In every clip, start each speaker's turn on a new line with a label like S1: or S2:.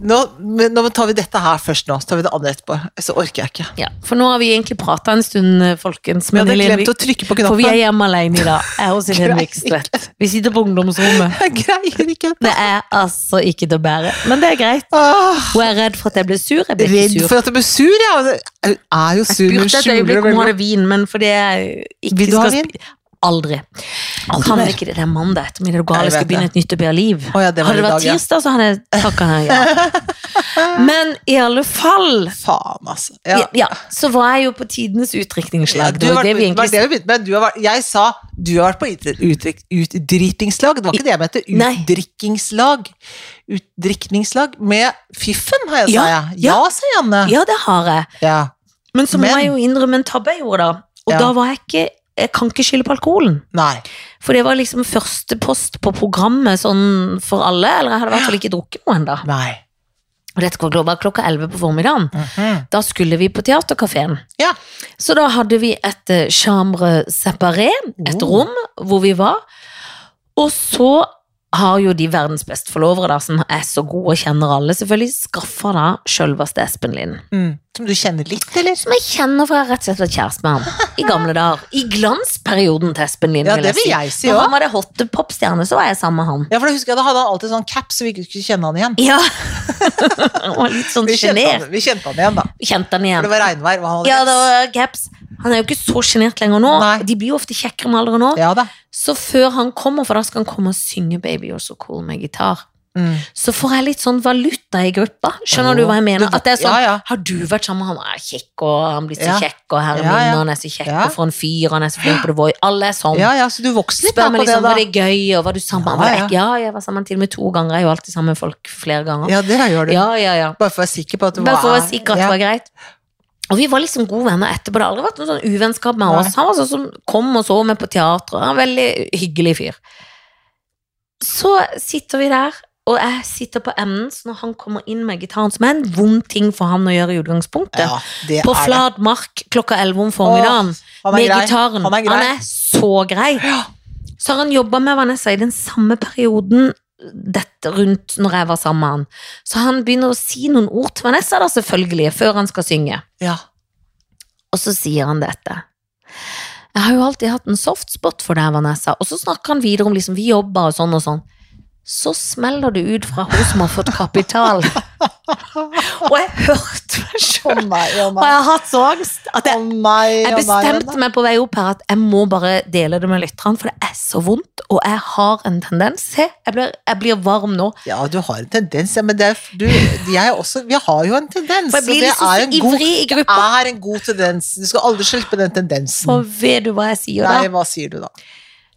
S1: nå, men nå tar vi dette her først nå, så tar vi det andre etterpå. Så orker jeg ikke.
S2: Ja, for nå har vi egentlig prata en stund, eh, folkens.
S1: Vi
S2: men
S1: hadde
S2: Helene,
S1: glemt å trykke på
S2: For vi er
S1: knappen.
S2: hjemme alene i dag. Jeg og Silje
S1: Greit.
S2: Vikstvedt. Vi sitter på ungdomsrommet.
S1: Jeg greier ikke.
S2: Det er altså ikke til å bære, men det er greit.
S1: Åh,
S2: Hun er redd for at jeg blir sur. Jeg blir
S1: redd
S2: ikke sur.
S1: for at du blir sur, ja. Jeg er jo sur,
S2: Jeg
S1: men
S2: spurte et
S1: skjuler
S2: øyeblikk
S1: det
S2: om hun
S1: veldig.
S2: hadde vin, men fordi jeg ikke
S1: Vil du ha
S2: skal
S1: vin?
S2: spi- Aldri.
S1: Aldri
S2: kan
S1: mer.
S2: ikke det der mandag ettermiddag du gale
S1: Jeg
S2: skal
S1: vet
S2: begynne
S1: det.
S2: et nytt og bedre liv.
S1: Å ja, det var i
S2: hadde det vært
S1: dag, ja.
S2: tirsdag, så hadde jeg takka henne. Ja. Men i alle fall
S1: Faen, altså.
S2: ja.
S1: Ja.
S2: så var jeg jo på tidenes
S1: Ja,
S2: utdrikningslag.
S1: du
S2: det
S1: har
S2: var det
S1: vært, det var
S2: vi egentlig
S1: det vi begynte med. Du har vært, jeg sa du har vært på ut- utdrik- utdrikningslag. Det var ikke det jeg mente.
S2: Nei.
S1: Utdrikningslag. Utdrikningslag med Fiffen, har jeg
S2: Ja,
S1: sa jeg. Ja,
S2: ja.
S1: sa Janne.
S2: Ja, det har jeg.
S1: Ja.
S2: Men så må
S1: Men-
S2: jeg jo innrømme en tabbe jeg gjorde, da. Og
S1: Ja.
S2: da var jeg ikke Jeg kan ikke skylde på alkoholen.
S1: Nei.
S2: For det var liksom første post på programmet sånn for alle. Eller jeg hadde i hvert fall ikke drukket noe ennå.
S1: Nei.
S2: Og dette var klokka- klokka 11 på formiddagen.
S1: Mhm.
S2: Da skulle vi på Theatercaféen.
S1: Ja.
S2: Så da hadde vi et eh, chambre separé, et
S1: Oh.
S2: rom hvor vi var. Og så har jo de verdens beste forlovere, da, som er så gode og kjenner alle, selvfølgelig skaffa da sjølveste Espen Lind.
S1: Mm. Som du kjenner litt, eller?
S2: Som jeg kjenner fra jeg rett og slett var kjæreste med ham i gamle dager. I glansperioden til Espen Lind,
S1: Ja, det vil jeg si
S2: Når
S1: òg.
S2: han var det hotte popstjerne, så var jeg sammen med han.
S1: Ja, for da husker jeg da hadde han alltid sånn cap, så vi ikke skulle kjenne han igjen.
S2: Ja. han var litt sånn
S1: Vi kjente
S2: sjenert.
S1: han, vi kjente han igjen, da.
S2: Kjente
S1: For
S2: han
S1: det
S2: igjen.
S1: var regnvær. Og han hadde
S2: Ja, det
S1: caps.
S2: var caps. Han er jo ikke så sjenert lenger nå.
S1: Nei.
S2: De blir jo ofte kjekkere med alderen nå.
S1: ja da.
S2: Så før han kommer, for da skal han komme og synge Baby You're So Cool med gitar,
S1: Mm.
S2: så får jeg litt sånn valuta i gruppa. Skjønner du hva jeg mener? At det er sånn,
S1: Ja, ja.
S2: har du vært sammen med han? Han er kjekk, og han blir så
S1: Ja.
S2: kjekk, og her
S1: Ja,
S2: er
S1: ja.
S2: minner, han er så kjekk,
S1: Ja.
S2: og for en fyr, han er så flink på The Voice. Alle er sånn.
S1: ja, ja, så du vokste litt da,
S2: Spør
S1: på
S2: meg
S1: det,
S2: liksom,
S1: da.
S2: var det gøy, og var du sammen?
S1: Ja,
S2: Var det
S1: ja.
S2: ek- Ja, jeg var sammen til og med to ganger. Jeg er jo alltid sammen med folk flere ganger.
S1: Ja, det gjør du.
S2: Ja, ja, ja.
S1: Bare for å være sikker på at du
S2: Bare for å
S1: var
S2: være sikker at det
S1: Ja.
S2: var greit. Og vi var liksom gode venner etterpå. Det har aldri vært noe sånn uvennskap med
S1: Nei.
S2: oss. Han var sånn som kom og så meg på teatret. Han var en veldig hyggelig fyr. Så sitter vi der, og jeg sitter på emnen, så når han kommer inn med gitaren, som er en vond ting for han å gjøre i utgangspunktet,
S1: Ja, det
S2: på
S1: er det.
S2: flat mark klokka 11 om formiddagen,
S1: Han er
S2: med
S1: grei.
S2: gitaren.
S1: Han er grei.
S2: så grei.
S1: Ja.
S2: Så har han jobba med Vanessa i den samme perioden dette rundt når jeg var sammen med han. Så han begynner å si noen ord til Vanessa, da selvfølgelig, før han skal synge.
S1: Ja.
S2: Og så sier han dette. Jeg har jo alltid hatt en softspot for deg, Vanessa. Og så snakker han videre om liksom, vi jobber og sånn og sånn. Så smeller det ut fra hun som har fått kapital. og jeg hørte meg
S1: Å
S2: sjøl.
S1: nei, å
S2: Og
S1: nei.
S2: jeg har hatt så angst at jeg
S1: Å nei, å
S2: jeg
S1: nei, å nei.
S2: bestemte meg på vei opp her at jeg må bare dele det med lytterne, for det er så vondt, og jeg har en tendens Se, jeg blir, jeg blir varm nå.
S1: Ja, du har en tendens, ja, men det er, du, jeg også, vi har jo en tendens.
S2: For
S1: og
S2: jeg blir
S1: det
S2: liksom
S1: er
S2: så
S1: en god,
S2: ivrig i gruppa.
S1: er en god tendens. Du skal aldri slippe den tendensen.
S2: Og vet du hva jeg sier
S1: Nei,
S2: da?
S1: hva sier du da?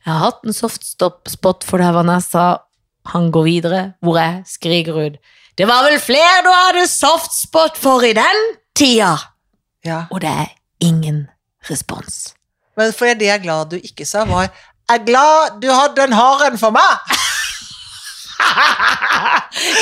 S2: Jeg har hatt en softstop-spot for deg, Vanessa. Han går videre, hvor jeg skriker ut Det var vel flere du hadde softspot for i den tida!
S1: Ja.
S2: Og det er ingen respons.
S1: Men for det jeg er glad du ikke sa, var Jeg er glad du hadde en haren for meg!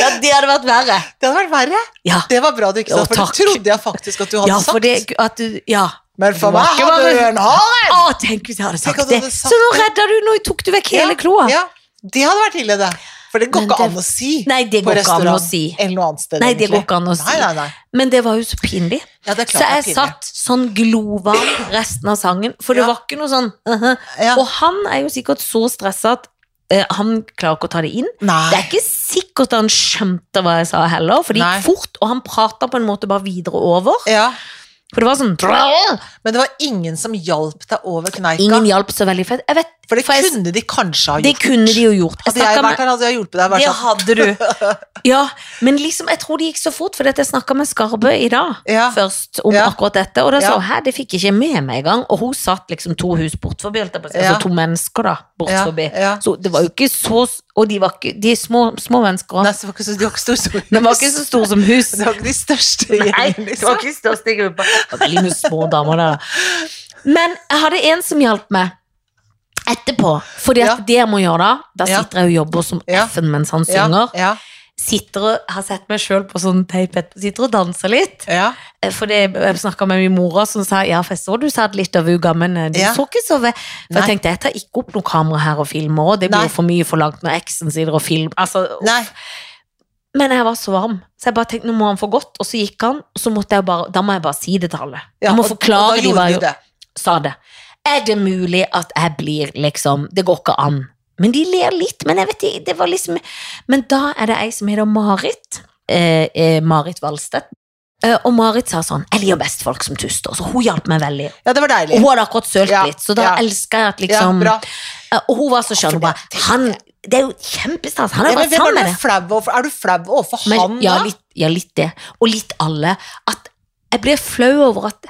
S2: Ja, det hadde vært verre.
S1: Det hadde vært verre.
S2: Ja.
S1: Det var bra du ikke
S2: Å,
S1: sa, for
S2: takk.
S1: det trodde jeg faktisk at du hadde
S2: Ja, for
S1: sagt.
S2: det at du Ja.
S1: Men
S2: Det
S1: for
S2: var
S1: meg
S2: ikke
S1: hadde du
S2: bare-
S1: en haren!
S2: Å, tenk hvis jeg hadde
S1: Tenk
S2: sagt
S1: at du
S2: det.
S1: hadde sagt
S2: Så nå
S1: det.
S2: redda du, nå tok du vekk hele kloa.
S1: Ja, det hadde vært ille, det. For det går
S2: Men
S1: ikke
S2: det-
S1: an å si
S2: Nei, det
S1: på
S2: går ikke an å
S1: restaurant
S2: si.
S1: eller noe annet sted.
S2: Nei, det går
S1: egentlig.
S2: ikke an å si.
S1: Nei, nei, nei.
S2: Men det var jo så pinlig.
S1: Ja, det er
S2: Så
S1: klart det
S2: jeg
S1: er pinlig.
S2: satt sånn glovarm resten av sangen, for det
S1: Ja.
S2: var ikke noe sånn «Mhm».
S1: Ja.
S2: Og han er jo sikkert så stressa at eh, han klarer ikke å ta det inn. Det
S1: Nei.
S2: er ikke sikkert han skjønte hva jeg sa heller, for det
S1: Nei.
S2: gikk fort, og han prata på en måte bare videre over.
S1: Ja.
S2: For det var sånn
S1: Men det var ingen som hjalp deg over kneika.
S2: Ingen hjalp så veldig fett. Jeg vet,
S1: for det
S2: for jeg-
S1: kunne de kanskje ha
S2: det
S1: gjort.
S2: kunne de jo gjort.
S1: Hadde jeg
S2: snakket
S1: vært
S2: med-
S1: her, hadde jeg hjulpet deg. vært
S2: Det
S1: sånn,
S2: hadde du. Ja, men liksom, jeg tror det gikk så fort, fordi at jeg snakka med Skarbø i dag
S1: Ja.
S2: først om
S1: Ja.
S2: akkurat dette, og da sa
S1: Ja.
S2: hun hæ, det fikk jeg ikke med meg engang, og hun satt liksom to hus bort forbi, holdt jeg på å si,
S1: Ja.
S2: altså to mennesker da, bort
S1: Ja,
S2: forbi.
S1: ja.
S2: Så det var jo ikke så Og de var ikke De er små, små mennesker
S1: Nei, så
S2: også.
S1: var ikke så, de var ikke store som
S2: De var ikke så store som hus.
S1: Det var ikke de største
S2: Nei,
S1: gjengene,
S2: det var
S1: liksom.
S2: ikke største gruppa. Det var veldig mye små damer der. da. Men jeg hadde en som hjalp meg etterpå. Fordi at
S1: Ja.
S2: det jeg må gjøre da, da
S1: Ja.
S2: sitter jeg og jobber som
S1: Ja.
S2: F-en mens han
S1: Ja,
S2: synger.
S1: ja,
S2: sitter og har sett meg sjøl på sånn teip etterpå, sitter og danser litt.
S1: ja.
S2: Eh, For det, jeg snakka med min mor, som sa ja, for jeg så du satt litt av uka, men eh, du
S1: Ja.
S2: så ikke så ve For
S1: Nei.
S2: jeg tenkte jeg tar ikke opp noe kamera her og filmer, og det blir
S1: Nei.
S2: jo for mye forlangt når eksen sitter og filmer. Altså,
S1: Nei,
S2: Men jeg var så varm, så jeg bare tenkte nå må han få gått. Og så gikk han, og så måtte jeg bare, da må jeg bare si det til alle.
S1: Ja,
S2: jeg må
S1: og- og
S2: forklare
S1: da
S2: de
S1: gjorde
S2: hva
S1: du
S2: jeg
S1: det.
S2: sa det. Er det mulig at jeg blir liksom Det går ikke an. Men de ler litt, men jeg vet ikke, det var liksom Men da er det ei som heter Marit. Eh, eh, Marit Valstedt. Eh, og Marit sa sånn Jeg liker best folk som tuster. Så hun hjalp meg veldig.
S1: Ja, det var deilig.
S2: Og hun hadde akkurat sølt
S1: Ja,
S2: litt, så da
S1: ja.
S2: elsker jeg at
S1: ja,
S2: liksom
S1: bra.
S2: Eh, Og hun var så skjønn. Hun
S1: Ja, for
S2: bare Han Det er jo kjempestas. Han
S1: Ja,
S2: har
S1: men hvem
S2: vært
S1: er,
S2: sammen med
S1: du
S2: det.
S1: flau overfor? er du flau overfor
S2: Men,
S1: han,
S2: ja,
S1: da?
S2: litt, ja, litt det. Og litt alle. At jeg blir flau over at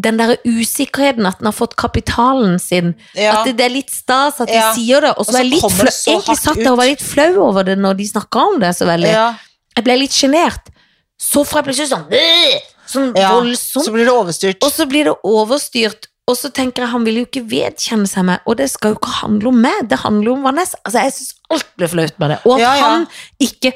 S2: den der usikkerheten, at den har fått kapitalen sin.
S1: Ja.
S2: At det, det er litt stas at de
S1: Ja.
S2: sier det. Og
S1: Og
S2: så
S1: så
S2: var jeg litt
S1: kommer
S2: flau.
S1: det så
S2: Egentlig
S1: hardt
S2: satt jeg og var
S1: ut.
S2: litt flau over det når de snakka om det så veldig.
S1: ja.
S2: Jeg ble litt sjenert. Så får jeg plutselig sånn «Øh!» Sånn
S1: ja. Så
S2: voldsomt.
S1: blir det overstyrt.
S2: Og så blir det overstyrt. Og så tenker jeg han vil jo ikke vedkjenne seg meg, og det skal jo ikke handle om meg. Det handler jo om Vanessa. Altså, jeg syns alt ble flaut med det. Og at
S1: Ja, ja.
S2: han ikke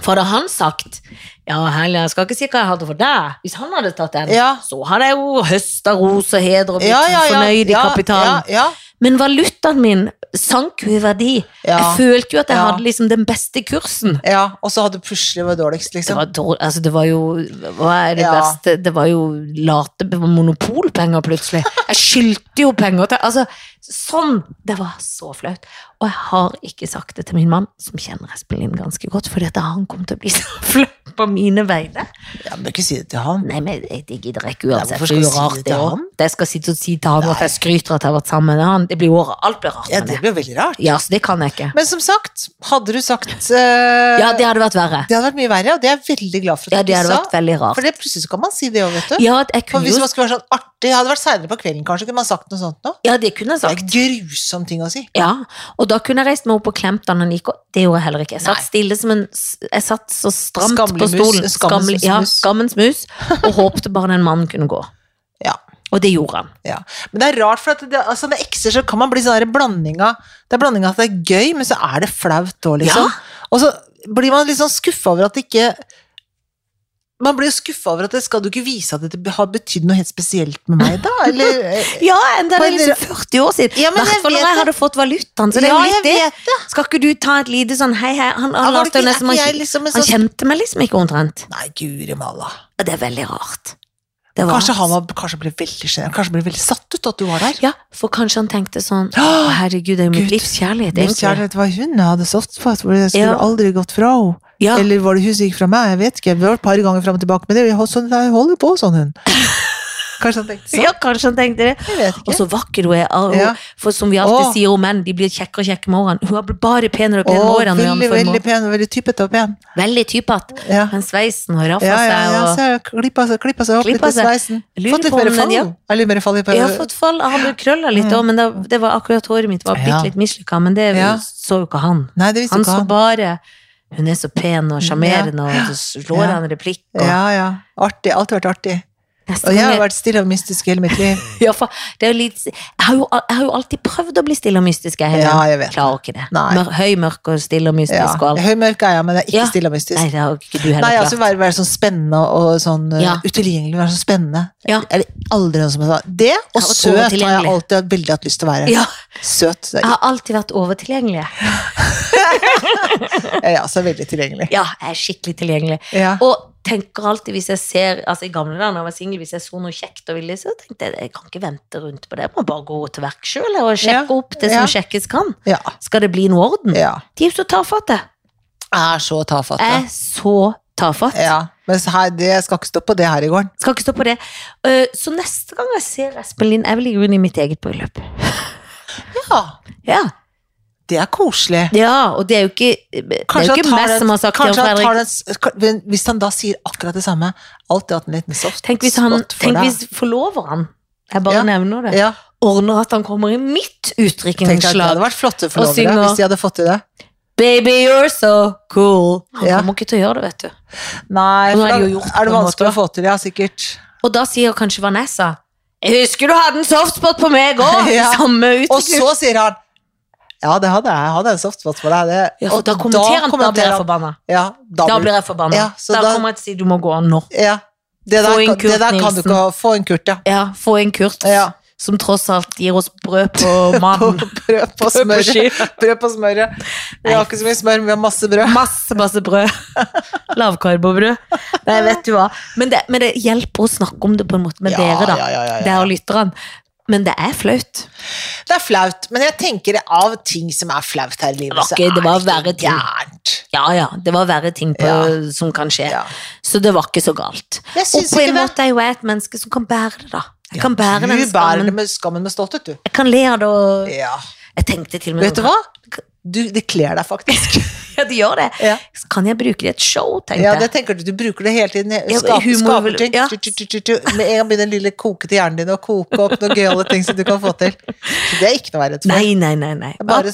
S2: For hadde han sagt Ja, Helga, jeg skal ikke si hva jeg hadde for deg. Hvis han hadde tatt den,
S1: Ja.
S2: så hadde jeg jo høsta ros og heder og blitt
S1: ja, ja, ja,
S2: fornøyd i
S1: ja,
S2: kapitalen.
S1: Ja,
S2: Men valutaen min sank jo i verdi.
S1: ja, ja,
S2: Jeg følte jo at jeg
S1: Ja.
S2: hadde liksom den beste kursen.
S1: ja. Og så hadde plutselig vært dårligst,
S2: Det
S1: liksom.
S2: var, dår- altså det var jo Hva er det
S1: Ja.
S2: verste? Det var jo late b- monopolpenger, plutselig. Jeg skyldte jo penger til Altså, sånn! Det var så flaut. Og jeg har ikke sagt det til min mann, som kjenner Espen Lind ganske godt, for dette han kom til å bli så flau på mine vegne.
S1: Ja, men du kan ikke si det til han.
S2: Nei, men jeg, jeg gidder ikke
S1: Nei,
S2: uansett.
S1: hvorfor
S2: Det blir jo
S1: skal du si
S2: rart,
S1: det
S2: det
S1: til
S2: òg.
S1: han?
S2: Jeg skal si, si til han at
S1: Nei.
S2: jeg skryter at jeg har vært sammen med han. Det blir jo rart. Alt blir rart.
S1: Ja,
S2: med
S1: det
S2: det.
S1: blir jo veldig rart.
S2: Ja, så det kan jeg ikke.
S1: Men som sagt, hadde du sagt eh,
S2: Ja,
S1: det,
S2: det hadde vært verre.
S1: hadde vært mye verre, og det er jeg veldig glad for at
S2: Ja, det
S1: du
S2: hadde
S1: sa.
S2: vært veldig rart.
S1: For det plutselig så kan man si det òg, vet du.
S2: Ja, at jeg
S1: For
S2: kunne
S1: hvis
S2: jo
S1: man skulle være sånn artig, hadde det vært seinere på kvelden kanskje, kunne man sagt noe sånt nå.
S2: Ja, det kunne jeg
S1: Det
S2: sagt.
S1: er grusom ting å si.
S2: Ja, og da kunne jeg reist meg opp og klemt han han gikk, og det gjorde jeg heller ikke. Jeg satt
S1: Nei.
S2: stille som en s- Jeg satt så stramt
S1: Skammelig
S2: på
S1: mus,
S2: stolen.
S1: skammens
S2: Skammelig- ja,
S1: mus.
S2: skammens mus. Og håpte bare den mannen kunne gå.
S1: Ja.
S2: Og det gjorde han.
S1: Ja. Men det er rart, for at det, altså, med ekser så kan man bli sånn der blanding av Det er blanding av at det er gøy, men så er det flaut òg, liksom.
S2: Ja.
S1: Og så blir man litt sånn skuffa over at det ikke Man blir jo skuffa over at det skal du ikke vise at det har betydd noe helt spesielt med meg, da? Eller
S2: Ja, enda det
S1: Men
S2: er liksom 40 år siden. I
S1: Ja, men jeg
S2: hvert fall
S1: vet
S2: når jeg
S1: det.
S2: hadde fått valutaen. Så det er
S1: Ja,
S2: jo litt
S1: jeg
S2: det.
S1: vet det.
S2: Skal ikke du ta et lite sånn hei, hei? Han,
S1: Ja, var
S2: han,
S1: det
S2: lot jo
S1: ikke- er
S2: nesten-
S1: ikke
S2: han,
S1: jeg liksom en
S2: han
S1: sånn
S2: kjente meg liksom ikke omtrent.
S1: Nei, guri malla.
S2: Og det er veldig rart. Det var-
S1: Kanskje han var, kanskje ble veldig sjenert. Kanskje ble veldig satt ut at du var der.
S2: Ja, for kanskje han tenkte sånn Å, herregud, det er jo mitt
S1: Gud.
S2: livs kjærlighet,
S1: Min
S2: egentlig.
S1: kjærlighet var hun jeg hadde stått for. hvor Jeg skulle
S2: Ja.
S1: aldri gått fra henne.
S2: Ja.
S1: Eller var det hun som gikk fra meg? Jeg vet ikke. Vi var et par ganger fram og tilbake med det. Jeg hold- Sånn, jeg holder på sånn, hun. Kanskje han tenkte sånn?
S2: ja, kanskje han tenkte det.
S1: Jeg vet
S2: Og
S1: ikke.
S2: så vakker du er. og hun-
S1: Ja.
S2: For som vi alltid
S1: Åh.
S2: sier om menn, de blir kjekkere og kjekkere med årene. Hun har blitt bare penere og
S1: Å,
S2: penere med årene. når hun
S1: veldig,
S2: får
S1: veldig
S2: må-
S1: pen. Veldig typete og pen.
S2: veldig typete.
S1: Ja.
S2: Men sveisen har raffa
S1: Ja, ja, ja,
S2: seg. Og,
S1: så klippa seg, klippa seg opp litt
S2: Klippa
S1: i
S2: seg.
S1: sveisen.
S2: Lurer
S1: Fått litt
S2: på
S1: mer
S2: om den-
S1: fall.
S2: ja.
S1: Ja, litt mer fall i
S2: jeg har fått fall. Han ble krølla litt òg, men da, det var akkurat håret mitt var
S1: Mm. Ja.
S2: bitte litt mislykka. Men det
S1: Ja.
S2: så jo ikke han.
S1: Nei, det visste
S2: Han
S1: ikke
S2: så
S1: han.
S2: bare Hun er så pen og sjarmerende, og så slår
S1: Ja.
S2: han en replikk. Og,
S1: Ja, ja. Artig. Alt har vært artig.
S2: Neste
S1: Og jeg
S2: gang
S1: har
S2: jeg-
S1: vært stille og mystisk hele mitt liv.
S2: ja, for det er jo litt, jeg, har jo, al- jeg har jo alltid prøvd å bli stille og mystisk. Jeg,
S1: Ja, jeg vet
S2: klarer ikke det.
S1: Nei.
S2: Mør, høy, mørk og stille og mystisk
S1: Ja.
S2: og alt.
S1: Høy mørk er jeg, men jeg er
S2: Ja.
S1: ikke stille og mystisk.
S2: Nei, det har jo ikke du heller
S1: Nei,
S2: klart.
S1: altså være, være sånn spennende og sånn eh,
S2: Ja.
S1: utilgjengelig, være så spennende.
S2: Ja.
S1: Er det aldri noen som har sagt det?
S2: Ja,
S1: Og
S2: og
S1: søt har jeg
S2: overtilgjengelig.
S1: alltid hatt veldig hatt lyst til å være.
S2: Ja,
S1: Søt. det
S2: jeg
S1: er-
S2: har alltid vært overtilgjengelig.
S1: Ja, så veldig tilgjengelig.
S2: Ja, jeg er skikkelig tilgjengelig.
S1: Ja.
S2: Og tenker alltid hvis jeg ser Altså i gamle dager da jeg var singel, hvis jeg så noe kjekt og ville, så tenkte jeg jeg kan ikke vente rundt på det. Jeg må bare gå til verk sjøl og sjekke
S1: Ja,
S2: opp det
S1: ja.
S2: som sjekkes kan.
S1: Ja.
S2: Skal det bli noe orden?
S1: ja.
S2: De er jo så tafatte.
S1: Jeg er så tafatt.
S2: Jeg
S1: da.
S2: er så tafatt.
S1: Ja. Men så her, det jeg skal ikke stå på det her i gården.
S2: Skal ikke stå på det. Eh, Så neste gang jeg ser Espen Lind, jeg vil i grunnen i mitt eget bryllup.
S1: Ja.
S2: Ja.
S1: Det er koselig.
S2: ja, og det er jo ikke Det er jo
S1: Kanskje han
S2: ikke
S1: tar
S2: meg
S1: den-
S2: som har sagt det,
S1: kanskje han
S2: Fredrik.
S1: tar den s- k- men Hvis han da sier akkurat det samme, alltid hatt en liten soft
S2: Tenk hvis, han,
S1: spot for
S2: tenk
S1: deg.
S2: hvis forlover han. Jeg bare
S1: Ja.
S2: nevner det.
S1: ja.
S2: Ordner at han kommer i mitt
S1: Tenk at det
S2: utdrikningslag.
S1: hadde vært flotte
S2: Og synger.
S1: forlovere hvis de hadde fått til det.
S2: Baby, you're so cool. Han
S1: Ja.
S2: kommer ikke til å gjøre det, vet du.
S1: Nei,
S2: Nå
S1: for
S2: er
S1: da
S2: det jo gjort på
S1: er det
S2: en
S1: vanskelig
S2: måte,
S1: å få til, ja, sikkert.
S2: Og da sier kanskje Vanessa Jeg husker du hadde en softspot på meg òg!
S1: Ja.
S2: Samme
S1: Og
S2: uttrykk.
S1: så sier han Ja, det hadde jeg. Jeg hadde en softspot for deg. Det.
S2: Ja,
S1: Og
S2: for da kommenterer han, da blir jeg forbanna.
S1: Ja, da
S2: Da
S1: blir,
S2: blir jeg forbanna.
S1: Ja, så
S2: da,
S1: da-
S2: kommer jeg til å si du må gå an nå.
S1: ja. Det,
S2: Få
S1: der,
S2: inn
S1: kan- det der
S2: Kurt
S1: kan du
S2: Nilsen.
S1: ikke ha- få en Kurt, ja.
S2: Ja, få en Kurt.
S1: Ja.
S2: som tross alt gir oss brød på
S1: På
S2: mannen.
S1: brød på
S2: Brød på
S1: smøret.
S2: skiva.
S1: Brød på smøret. Vi har ikke så mye smør, men vi har masse brød.
S2: Masse, masse brød. Lavkarbobrød. Nei, vet du hva. Men det, men det hjelper å snakke om det på en måte med
S1: Ja,
S2: dere, da.
S1: ja, ja, ja, ja.
S2: Dere lytterne. Men det er flaut.
S1: Det er flaut, men jeg tenker av ting som er flaut her i livet,
S2: Det var ikke- det var verre ting.
S1: gærent.
S2: Ja, ja. Det var verre ting på,
S1: Ja.
S2: som kan skje.
S1: Ja.
S2: Så det var ikke så galt.
S1: Jeg
S2: Og
S1: syns
S2: på
S1: ikke
S2: en
S1: det.
S2: måte er jo jeg et menneske som kan bære det, da. Jeg kan
S1: Du
S2: bære den
S1: bærer det
S2: skammen.
S1: med skammen med stolthet, du.
S2: Jeg kan le av det, og
S1: Ja.
S2: jeg tenkte til og med
S1: Vet du hva? Du, det kler deg faktisk.
S2: Ja, det gjør det.
S1: Ja.
S2: Så Kan jeg bruke det i et show, tenkte
S1: Ja, det
S2: jeg.
S1: tenker du. Du bruker det hele tiden.
S2: Ja,
S1: Skaper,
S2: humor
S1: skaper
S2: vil-
S1: ting.
S2: ja.
S1: Tu, tu, tu, tu, tu. Med en gang begynner den lille kokete hjernen din å koke opp noen gøyale ting som du kan få til. Så det er ikke noe å være redd for.
S2: Nei, nei, nei. nei.
S1: Det er Bare,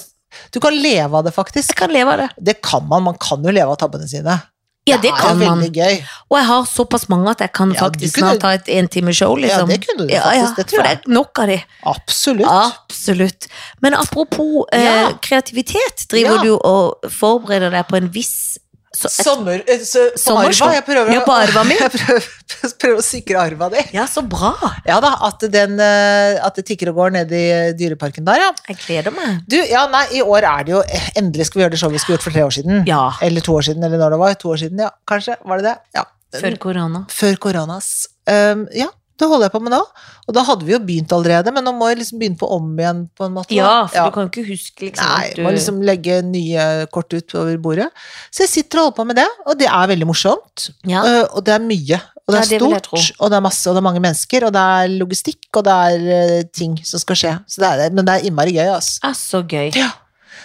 S1: du kan leve av det, faktisk.
S2: Jeg kan leve av det.
S1: Det kan man. Man kan jo leve av tabbene sine.
S2: Ja, det kan
S1: er jo
S2: man.
S1: veldig gøy.
S2: Og jeg har såpass mange at jeg kan
S1: Ja,
S2: faktisk
S1: du kunne-
S2: snart ha et entimeshow, liksom.
S1: Ja, det kunne du faktisk, det tror
S2: for
S1: jeg.
S2: det er nok av de.
S1: Absolutt.
S2: Absolutt. Men apropos eh,
S1: Ja.
S2: kreativitet, driver
S1: Ja.
S2: du og forbereder deg på en viss så, et,
S1: Sommer... eh, Så, på
S2: Sommershow.
S1: arva. Jeg prøver,
S2: Ja, på arva mi.
S1: Jeg prøver, prøver å sikre arva di.
S2: Ja, så bra!
S1: Ja da, at, den, eh, at det tikker og går ned i eh, dyreparken der, ja.
S2: Jeg gleder meg.
S1: Du, ja, nei, i år er det jo eh, Endelig skal vi gjøre det showet vi skulle gjort for tre år siden.
S2: Ja.
S1: Eller to år siden, eller når det var. To år siden, ja. Kanskje. Var det det? Ja.
S2: Før korona.
S1: Før koronas. Um, ja, det holder jeg på med nå. Og da hadde vi jo begynt allerede, men nå må jeg liksom begynne på om igjen, på en måte. da.
S2: Ja, for du kan jo ikke huske liksom
S1: Nei,
S2: at du
S1: må liksom legge nye kort ut over bordet. Så jeg sitter og holder på med det, og det er veldig morsomt.
S2: ja.
S1: Eh, og det er mye, og det
S2: Ja,
S1: er
S2: det vil jeg
S1: stort, og det er masse, og det er mange mennesker, og det er logistikk, og det er eh, ting som skal skje. Så det er, men det er innmari gøy, altså.
S2: er ah, så gøy.
S1: Ja.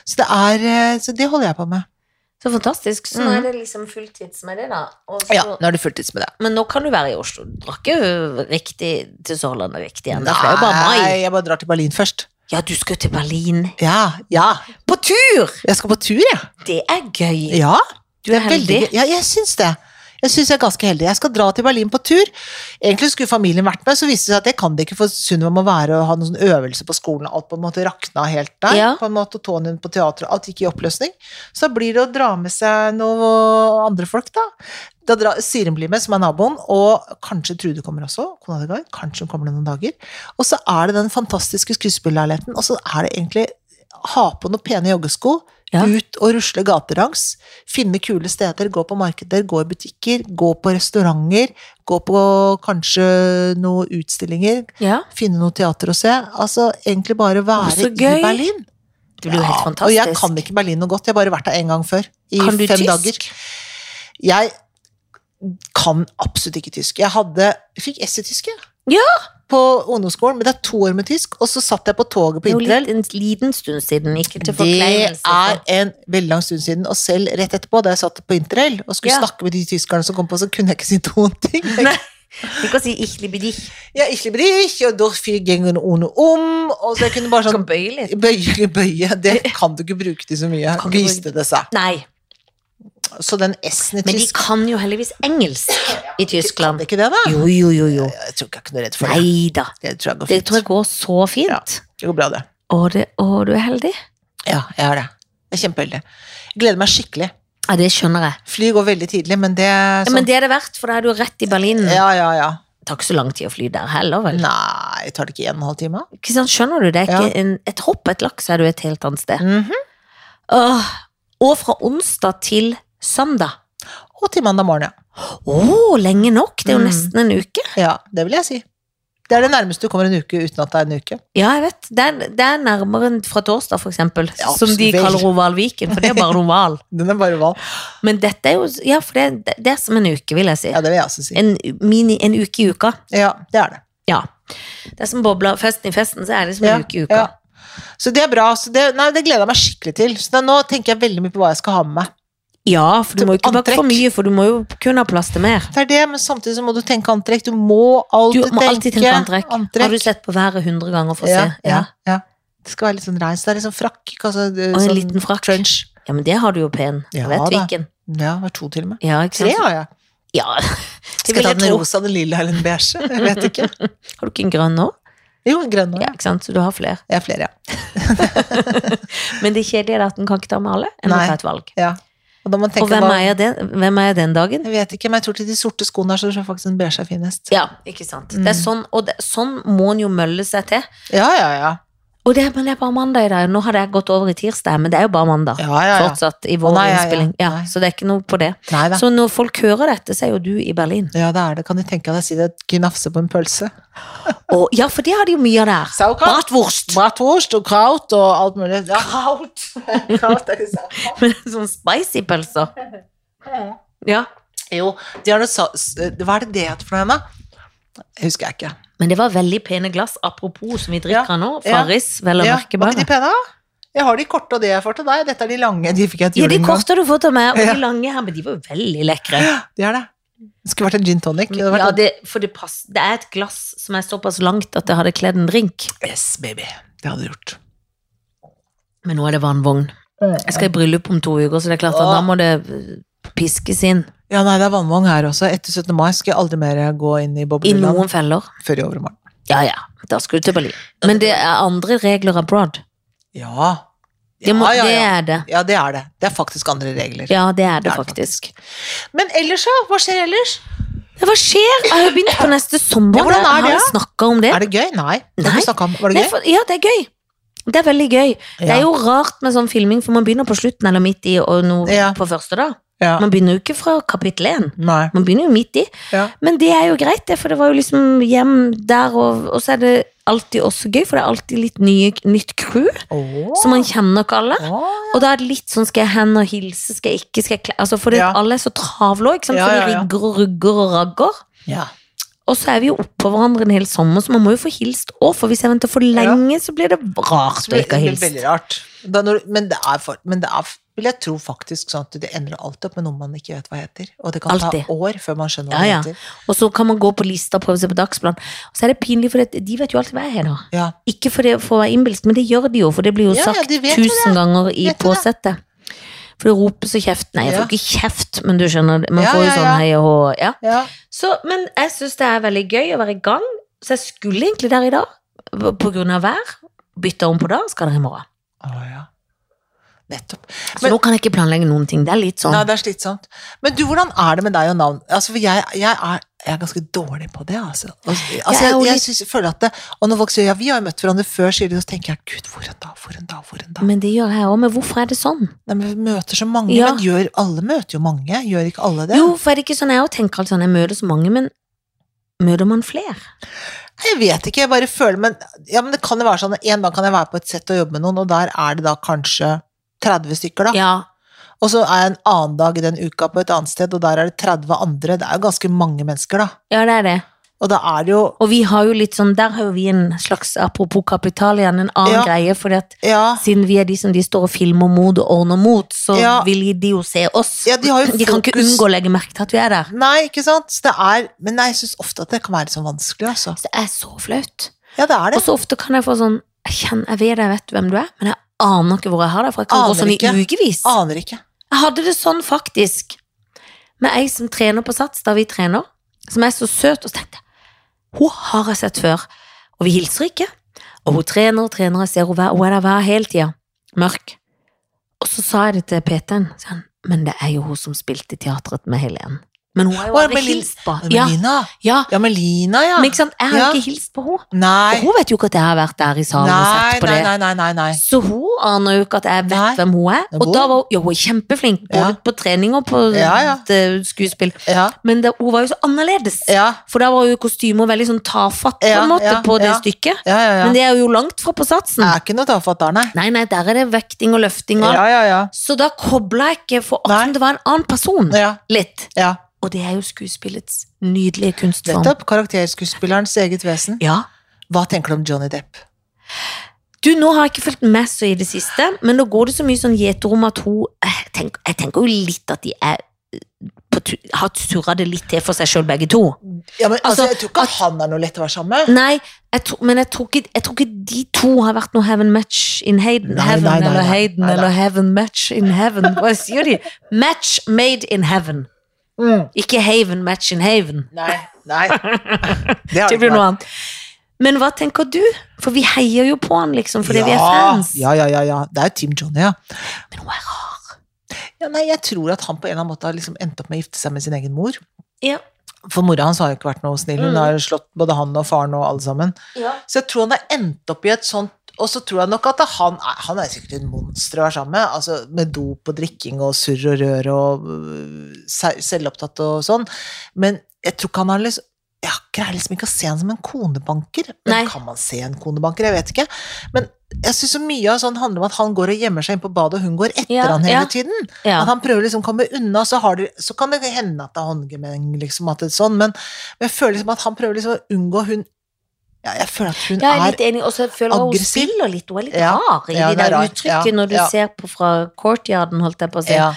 S1: Så det er eh, Så det holder jeg på med.
S2: Så fantastisk. Så nå
S1: Mhm.
S2: er det liksom fulltids med det, da. Og så,
S1: Ja, nå er det fulltids med det.
S2: Men nå kan du være i Oslo. Du drar ikke ø, riktig til Sørlandet riktig ennå, for det er jo bare
S1: Nei,
S2: mai.
S1: jeg bare drar til Berlin først.
S2: Ja, du skal jo til Berlin.
S1: Ja, ja.
S2: På tur!
S1: Jeg skal på tur, jeg.
S2: Det er gøy.
S1: Ja.
S2: Du er
S1: Veldig.
S2: heldig.
S1: Ja, jeg syns det. Jeg syns jeg er ganske heldig. Jeg skal dra til Berlin på tur. Egentlig skulle familien vært med, så viste det seg at jeg kan det ikke, for Sunniva må være og ha noen sånn øvelse på skolen, og alt på en måte rakna helt der.
S2: Ja.
S1: På en måte, og tåen din på teatret, alt gikk i oppløsning. Så da blir det å dra med seg noen andre folk, da. Da dra, Siren blir med, som er naboen, og kanskje Trude kommer også. Kona til Guy. Kanskje hun kommer det noen dager. Og så er det den fantastiske skuespillerleiligheten, og så er det egentlig ha på noen pene joggesko,
S2: Ja.
S1: ut og rusle gaterangs, finne kule steder, gå på markeder, gå i butikker, gå på restauranter, gå på kanskje noen utstillinger,
S2: Ja.
S1: finne noe teater å se. Altså egentlig bare
S2: så
S1: være i
S2: gøy.
S1: Berlin.
S2: Det blir jo helt
S1: Ja, Og jeg
S2: fantastisk.
S1: kan ikke Berlin noe godt, jeg har bare vært der en gang før. I
S2: Kan du
S1: fem
S2: tysk?
S1: dager. Jeg kan absolutt ikke tysk. Jeg hadde, jeg fikk S i tysk, jeg.
S2: Ja.
S1: På ungdomsskolen, men det er to år med tysk, og så satt jeg på toget på
S2: Det er jo
S1: Interrail.
S2: litt, en liten stund siden, ikke til
S1: Det
S2: forkleinelse. altså.
S1: er en veldig lang stund siden, og selv rett etterpå, da jeg satt på interrail og skulle
S2: Ja.
S1: snakke med de tyskerne som kom på, så kunne jeg ikke si noen ting.
S2: Nei. Ikke å si 'ich liebe dich'.
S1: Ja, ich liebe dich, og durch vier gängen ohne um, og så jeg kunne bare
S2: Du kan
S1: sånn
S2: bøye litt.
S1: Bøye, bøye, det kan du ikke bruke til så mye,
S2: Kan ikke
S1: viste det seg.
S2: Nei,
S1: Så den S-en i
S2: men de
S1: tysk
S2: kan jo heldigvis engelsk i
S1: Kan
S2: Tyskland.
S1: det ikke det, da?
S2: Jo, jo, jo, jo.
S1: Jeg tror ikke jeg er ikke noe redd for det.
S2: Nei da.
S1: Jeg tror jeg går
S2: Det
S1: fint.
S2: tror jeg går så fint.
S1: Det går bra, det.
S2: Og, det, og du er heldig.
S1: Ja, jeg har det. Jeg er kjempeheldig. Jeg gleder meg skikkelig.
S2: Ja, det skjønner jeg.
S1: Fly går veldig tidlig, men det er
S2: Ja,
S1: sånn
S2: men det er det verdt, for da er du rett i Berlin.
S1: Ja, ja, ja.
S2: Det tar ikke så lang tid å fly der heller, vel?
S1: Nei, tar det ikke en og en halv time?
S2: Ikke sant, skjønner du? Det er ikke
S1: Ja.
S2: en, et hopp, et laks, er du et helt annet sted.
S1: Mhm.
S2: Åh, og fra onsdag til søndag.
S1: og til mandag morgen, ja.
S2: Åh, lenge nok. Det er jo
S1: Mm.
S2: nesten en uke.
S1: ja. Det vil jeg si. Det er det nærmeste du kommer en uke uten at det er en uke.
S2: Ja, jeg vet. Det er, det er nærmere enn fra torsdag, for eksempel.
S1: Ja,
S2: som de
S1: vel.
S2: kaller ovalviken, for det er bare en oval.
S1: Den er bare val.
S2: Men dette er jo Ja, for det, det er som en uke, vil jeg si.
S1: Ja, det vil jeg også si.
S2: En, mini, en uke i uka.
S1: Ja, det er det.
S2: Ja. Det er som bobla festen i festen, så er det som
S1: Ja,
S2: en uke i uka.
S1: ja. Så det er bra. Så det, nei, det gleder jeg meg skikkelig til. Så da, nå tenker jeg veldig mye på hva jeg skal ha med meg.
S2: Ja, for du må jo ikke
S1: Antrekk.
S2: bakke for mye, for du må jo kunne ha plass til mer.
S1: Det er det, men samtidig så må du tenke antrekk. Du må alltid,
S2: Du må alltid tenke antrekk. Har du
S1: antrekk.
S2: sett på været hundre ganger for å
S1: ja,
S2: se?
S1: ja, ja. Det skal være litt sånn reis. Det er litt sånn frakk. ikke? Altså, det,
S2: Og en
S1: sånn
S2: liten frakk.
S1: Trench.
S2: Ja, men det har du jo pen. Jeg
S1: Ja,
S2: vet
S1: da.
S2: hvilken.
S1: Ja, det var to til og med.
S2: Ja, ikke
S1: Tre
S2: sant?
S1: har jeg.
S2: Ja, det
S1: Skal jeg
S2: vil
S1: ta
S2: jeg
S1: den
S2: tro.
S1: rosa, den lilla eller den beige? Jeg vet ikke.
S2: Har du ikke en grønn nå?
S1: Jo, en grønn og
S2: Ja,
S1: en.
S2: ikke sant? Så du har flere.
S1: Jeg har flere, ja.
S2: Men det kjedelige er at den kan ikke ta med alle. En må
S1: Nei.
S2: ta et valg.
S1: Ja. Og Og, da må man tenke,
S2: Og hvem
S1: hva-
S2: eier den, hvem eier den dagen?
S1: Jeg vet ikke, men jeg tror til de sorte skoene er så tror jeg faktisk den beige er finest.
S2: Ja, ikke sant. Det er
S1: Mm.
S2: sånn, og det, sånn må en jo mølle seg til.
S1: Ja, ja, ja.
S2: Og det, men det er bare mandag i dag. Nå hadde jeg gått over i tirsdag, men det er jo bare mandag.
S1: ja, ja, ja.
S2: Fortsatt i vår
S1: Å, nei, ja, ja.
S2: innspilling. Ja,
S1: Nei.
S2: så det er ikke noe på det.
S1: Nei da.
S2: Så når folk hører dette, så er jo du i Berlin.
S1: Ja, det er det. Kan du tenke deg å si det? Gnafse på en pølse.
S2: Og, ja, for det har de jo mye av der.
S1: Sauerkraut.
S2: Bratwurst!
S1: Bratwurst og kraut og alt mulig. Ja. Kraut! kraut er det sauerkraut.
S2: Med sånn spicy pølser. Ja.
S1: Jo, de har noe sa... s- eh, Hva er det det heter for noe, da? Jeg husker jeg ikke.
S2: Men det var veldig pene glass, apropos som vi
S1: Ja,
S2: drikker nå.
S1: ja.
S2: Farris, vel å
S1: Ja,
S2: merke
S1: var ikke
S2: bare.
S1: de pene? da? Jeg har de korte og det jeg får til deg. Dette er de lange. De fikk jeg til
S2: Ja, de
S1: juling
S2: korte har du fått av meg, og de lange her, men de var jo veldig lekre.
S1: De er det. Det skulle vært en gin tonic. Det hadde vært
S2: Ja, det, for det, pass, det er et glass som er såpass langt at det hadde kledd en drink.
S1: Yes, baby. Det hadde du gjort.
S2: Men nå er det vannvogn. Jeg skal i bryllup om to uker, så det er klart at
S1: Eh, Åh.
S2: da må det øh, piskes inn
S1: Ja, nei, det er vannvogn her også. Etter 17. mai skal jeg aldri mer gå inn i
S2: i
S1: bobleland
S2: noen feller.
S1: før i overmorgen.
S2: Ja, ja, da skal du til Berlin. Men det er andre regler abroad.
S1: Ja.
S2: Det, må,
S1: ja, ja,
S2: det
S1: ja.
S2: er det.
S1: ja, det er det. Det er faktisk andre regler.
S2: Ja,
S1: Det
S2: det er det
S1: er det
S2: faktisk.
S1: Men ellers, ja? Hva skjer ellers?
S2: Ja, Hva skjer? Jeg har jo begynt på neste sommer.
S1: Ja, hvordan er det,
S2: Har jeg snakka om det?
S1: Er det gøy? Nei. Det har
S2: Nei.
S1: vi snakket om. Var det
S2: Nei,
S1: gøy?
S2: for, ja, det er gøy. Det er veldig gøy. Det er jo rart med sånn filming, for man begynner på slutten eller midt i, og noe
S1: Ja.
S2: på første da.
S1: Ja.
S2: Man begynner jo ikke fra kapittel én.
S1: Nei.
S2: Man begynner jo midt i.
S1: Ja.
S2: Men det er jo greit, det, for det var jo liksom hjem der, og, og så er det alltid også gøy, for det er alltid litt nye, nytt crew,
S1: Åh.
S2: så man kjenner ikke alle.
S1: Åh,
S2: Og da er det litt sånn, skal jeg hen og hilse, skal jeg ikke, skal jeg kle Altså, fordi
S1: Ja.
S2: alle er så travle òg, ikke sant,
S1: Ja,
S2: så de
S1: ja, ja.
S2: rygger og rugger og ragger.
S1: ja.
S2: Og så er vi jo oppå hverandre en hel sommer, så man må jo få hilst òg, for hvis jeg venter for lenge, så blir det
S1: Det
S2: rart
S1: blir-
S2: å
S1: det
S2: ikke ha
S1: blir
S2: hilst.
S1: veldig rart. Da når, men det er, for, men det er vil jeg tro faktisk sånn at det ender alltid opp med noen man ikke vet hva heter. Og det kan
S2: Alltid.
S1: ta år før man skjønner hva
S2: Ja, ja.
S1: det heter.
S2: Og så kan man gå på lista og prøve seg på dagsplan. Og så er det pinlig, for det- de vet jo alltid hva jeg er da.
S1: Ja.
S2: Ikke for, det, for å være innbilt, men det gjør de jo, for det blir jo
S1: Ja, ja,
S2: sagt
S1: de vet jo
S2: tusen ganger i
S1: Vet jo det.
S2: påsettet. For det ropes og kjeft. Nei, jeg
S1: Ja.
S2: får ikke kjeft, men du skjønner, det. man
S1: Ja,
S2: får jo
S1: ja,
S2: sånn
S1: ja.
S2: hei og hå. Ja.
S1: ja.
S2: Så, men jeg syns det er veldig gøy å være i gang, så jeg skulle egentlig der i dag, på- på grunn av vær. Bytte om på dag, skal dere i morgen.
S1: Å, ja. Nettopp.
S2: Så
S1: Men-
S2: nå kan jeg ikke planlegge noen ting. Det er litt sånn.
S1: Nei, det er slitsomt. Men du, hvordan er det med deg og navn? Altså, for jeg, jeg, er, jeg er ganske dårlig på det, altså. Altså,
S2: Jeg er
S1: jeg,
S2: jo
S1: jeg
S2: litt-
S1: synes, føler at det, og når folk sier ja, vi har jo møtt hverandre før, sier de, så tenker jeg gud, hvor en dag, hvor en dag, hvor en dag.
S2: Men det gjør jeg òg. Men hvorfor er det sånn?
S1: Nei, men vi møter så mange,
S2: Ja.
S1: men gjør, alle møter jo mange, gjør ikke alle det?
S2: Jo, for er det ikke sånn jeg òg tenker alt sånn. Jeg møter så mange, men møter man flere?
S1: Jeg vet ikke, jeg bare føler, men, ja, men det kan jo være sånn, en dag kan jeg være på et sett og jobbe med noen, og der er det da kanskje 30 stykker da.
S2: Ja.
S1: Og så er jeg en annen dag i den uka på et annet sted, og der er det 30 andre. Det er jo ganske mange mennesker da.
S2: Ja, det er det.
S1: Og da er det jo,
S2: Og vi har jo litt sånn, der har jo vi en slags, apropos kapital igjen, en annen
S1: Ja.
S2: greie, fordi at
S1: ja,
S2: siden vi er de som de står og filmer mot og ordner mot, så
S1: Ja.
S2: vil de jo se oss.
S1: Ja, de har jo
S2: kan ikke
S1: fokus.
S2: unngå å legge merke til at vi er der.
S1: Nei, ikke sant? Så Det er, men nei, jeg syns ofte at det kan være litt sånn vanskelig, altså.
S2: Så det er så flaut.
S1: Ja, det er det.
S2: Og så ofte kan jeg få sånn, jeg kjenner, jeg vet, jeg vet hvem du er, men jeg aner ikke hvor jeg har deg, for jeg kan
S1: Aner
S2: gå sånn
S1: ikke.
S2: i ukevis.
S1: Aner ikke.
S2: Jeg hadde det sånn faktisk, med ei som trener på sats, da vi trener, som er så søt, og så tenkte jeg, hun har jeg sett før, og vi hilser ikke. Og hun trener og trener, jeg ser hun, hver, hun er der hver hele tida, mørk. Og så sa jeg det til PT-en, så sa han, men det er jo hun som spilte i teatret med Helen. Men hun har jo
S1: Å,
S2: aldri
S1: Melin-
S2: hilst på.
S1: Men
S2: Ja,
S1: Melina?
S2: ja,
S1: Ja, Melina, ja.
S2: men ikke sant, jeg har jo
S1: Ja.
S2: ikke hilst på henne. Og
S1: Nei.
S2: hun vet jo ikke at jeg har vært der i salen og
S1: Nei,
S2: sett på
S1: nei,
S2: det.
S1: nei, nei, nei, nei.
S2: Så hun aner jo ikke at jeg vet
S1: Nei.
S2: hvem hun er.
S1: Men
S2: Og
S1: god.
S2: da var hun, jo, hun er kjempeflink, både
S1: Ja.
S2: på trening og på
S1: Ja, ja.
S2: eh, skuespill.
S1: Ja.
S2: Men det, hun var jo så annerledes.
S1: Ja,
S2: For da var jo kostymer veldig sånn tafatt på
S1: Ja,
S2: en måte
S1: ja,
S2: på det
S1: ja.
S2: stykket.
S1: ja, ja. ja.
S2: Men det er jo langt fra på satsen.
S1: Det er ikke noe tafatt der, nei.
S2: Nei, nei, der er det vekting og løfting. Og alt.
S1: Ja, ja, ja.
S2: Så da kobla jeg ikke for
S1: Nei.
S2: at det var en annen person.
S1: Ja,
S2: Litt.
S1: ja.
S2: Og det er jo skuespillets nydelige kunstform.
S1: Nettopp. Karakterskuespillerens eget vesen.
S2: Sånn. Ja.
S1: Hva tenker du om Johnny Depp?
S2: Du, nå har jeg ikke fulgt med så i det siste, men nå går det så mye sånn gjeter om at hun jeg tenker, jeg tenker jo litt at de er eh, på, tu- har surra det litt til for seg sjøl, begge to.
S1: Ja, men altså,
S2: Altså,
S1: Jeg tror ikke
S2: at-
S1: han er noe lett å være sammen med.
S2: Nei, jeg tror- men jeg tror, ikke, jeg tror ikke de to har vært noe heaven match in Hayden.
S1: Nei,
S2: heaven
S1: nei, nei,
S2: eller
S1: nei.
S2: Hayden
S1: Nei, nei.
S2: eller heaven match in heaven. Hva sier de? Match made in heaven.
S1: Mm.
S2: Ikke haven match in haven.
S1: Nei. nei. Det har
S2: Det
S1: det
S2: blir
S1: ikke
S2: noe
S1: vært.
S2: annet. Men hva tenker du? For vi heier jo på han, liksom, fordi vi er
S1: Ja,
S2: fans.
S1: Ja, ja, ja, ja. Det er jo Team Johnny, ja.
S2: Men hun er rar.
S1: Ja, nei, jeg tror at han på en eller annen måte har liksom endt opp med å gifte seg med sin egen mor.
S2: Ja.
S1: For mora hans har jo ikke vært noe snill. Hun
S2: Mm.
S1: har slått både han og faren og alle sammen. Så jeg tror han har endt opp i et sånt og så tror jeg nok at han, er- han er sikkert et monster å være sammen med, altså med dop og drikking og surr og rør og øh, se- selvopptatt og sånn, men jeg tror ikke han har lyst Jeg greier liksom ikke å se han som en konebanker. Men
S2: Nei.
S1: kan man se en konebanker? Jeg vet ikke. Men jeg syns så mye av sånn handler om at han går og gjemmer seg inn på badet, og hun går etter
S2: Ja,
S1: han hele
S2: ja.
S1: tiden.
S2: Ja.
S1: At han prøver liksom å komme unna, så, har de, så kan det hende at det er håndgemeng, liksom, at det er sånn, men, men jeg føler liksom at han prøver liksom å unngå hun ja, Jeg føler at hun
S2: Ja, jeg er
S1: er,
S2: litt enig, og så føler jeg hun
S1: aggressiv.
S2: spiller litt, hun er litt
S1: Ja,
S2: rar i
S1: ja,
S2: de
S1: hun er
S2: der
S1: rar,
S2: uttrykkene
S1: ja,
S2: når du
S1: ja.
S2: ser på fra courtyarden, holdt jeg på å si.
S1: ja,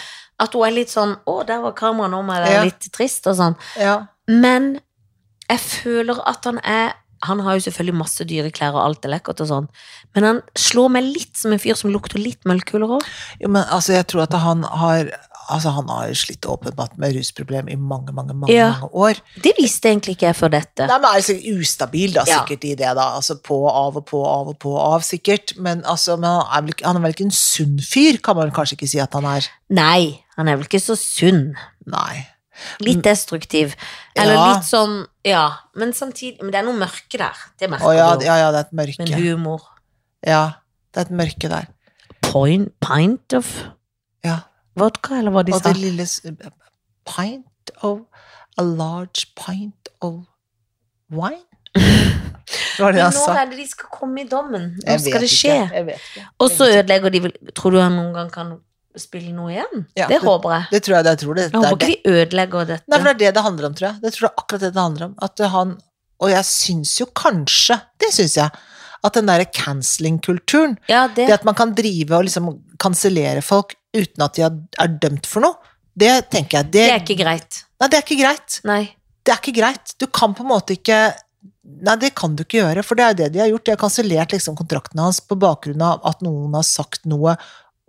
S2: At hun er litt sånn 'Å, der var kameraet om meg, det
S1: Ja.
S2: er litt trist', og sånn.
S1: ja,
S2: Men jeg føler at han er Han har jo selvfølgelig masse dyre klær, og alt er lekkert og sånn, men han slår meg litt som en fyr som lukter litt melkekuler òg.
S1: jo, Men altså, jeg tror at han har Altså, han har slitt åpenbart med rusproblem i mange, mange, mange,
S2: Ja.
S1: mange år.
S2: Det visste egentlig ikke jeg før dette.
S1: Nei, men er sikkert ustabil da,
S2: Ja.
S1: sikkert i det da, altså på og av og på og av og på og av, sikkert, men altså, men han er vel ikke, han er vel ikke en sunn fyr, kan man kanskje ikke si at han er.
S2: Nei, han er vel ikke så sunn.
S1: Nei.
S2: Litt destruktiv. Eller
S1: Mm. Ja.
S2: litt sånn Ja, men samtidig Men det er noe mørke der. Det merker
S1: Å ja,
S2: du jo.
S1: ja, ja, det er et mørke.
S2: Men humor.
S1: Ja, det er et mørke der.
S2: Point, pint of
S1: Ja.
S2: vodka, eller hva de
S1: Og
S2: sa.
S1: det lille s- pint of A large pint of wine? Det var
S2: Men
S1: det han
S2: nå
S1: sa.
S2: er det de skal komme i dommen. Nå
S1: Jeg vet
S2: skal det
S1: ikke,
S2: skje.
S1: jeg vet ikke.
S2: Og så ødelegger de vel Tror du han noen gang kan spille noe igjen?
S1: Ja,
S2: det
S1: det-
S2: håper jeg.
S1: Det tror jeg det, jeg tror det.
S2: Jeg
S1: det,
S2: håper
S1: er det.
S2: ikke de ødelegger dette.
S1: Nei, for det er det det handler om, tror jeg. Det tror jeg akkurat det det handler om. At han, og jeg syns jo kanskje, det syns jeg, at den derre canceling-kulturen,
S2: ja, det,
S1: det at man kan drive og liksom kansellere folk uten at de er er dømt for noe, det tenker jeg det,
S2: det er ikke greit.
S1: Nei, det er ikke greit.
S2: Nei.
S1: Det er ikke greit. Du kan på en måte ikke Nei, det kan du ikke gjøre, for det er jo det de har gjort. De har kansellert liksom kontrakten hans på bakgrunn av at noen har sagt noe,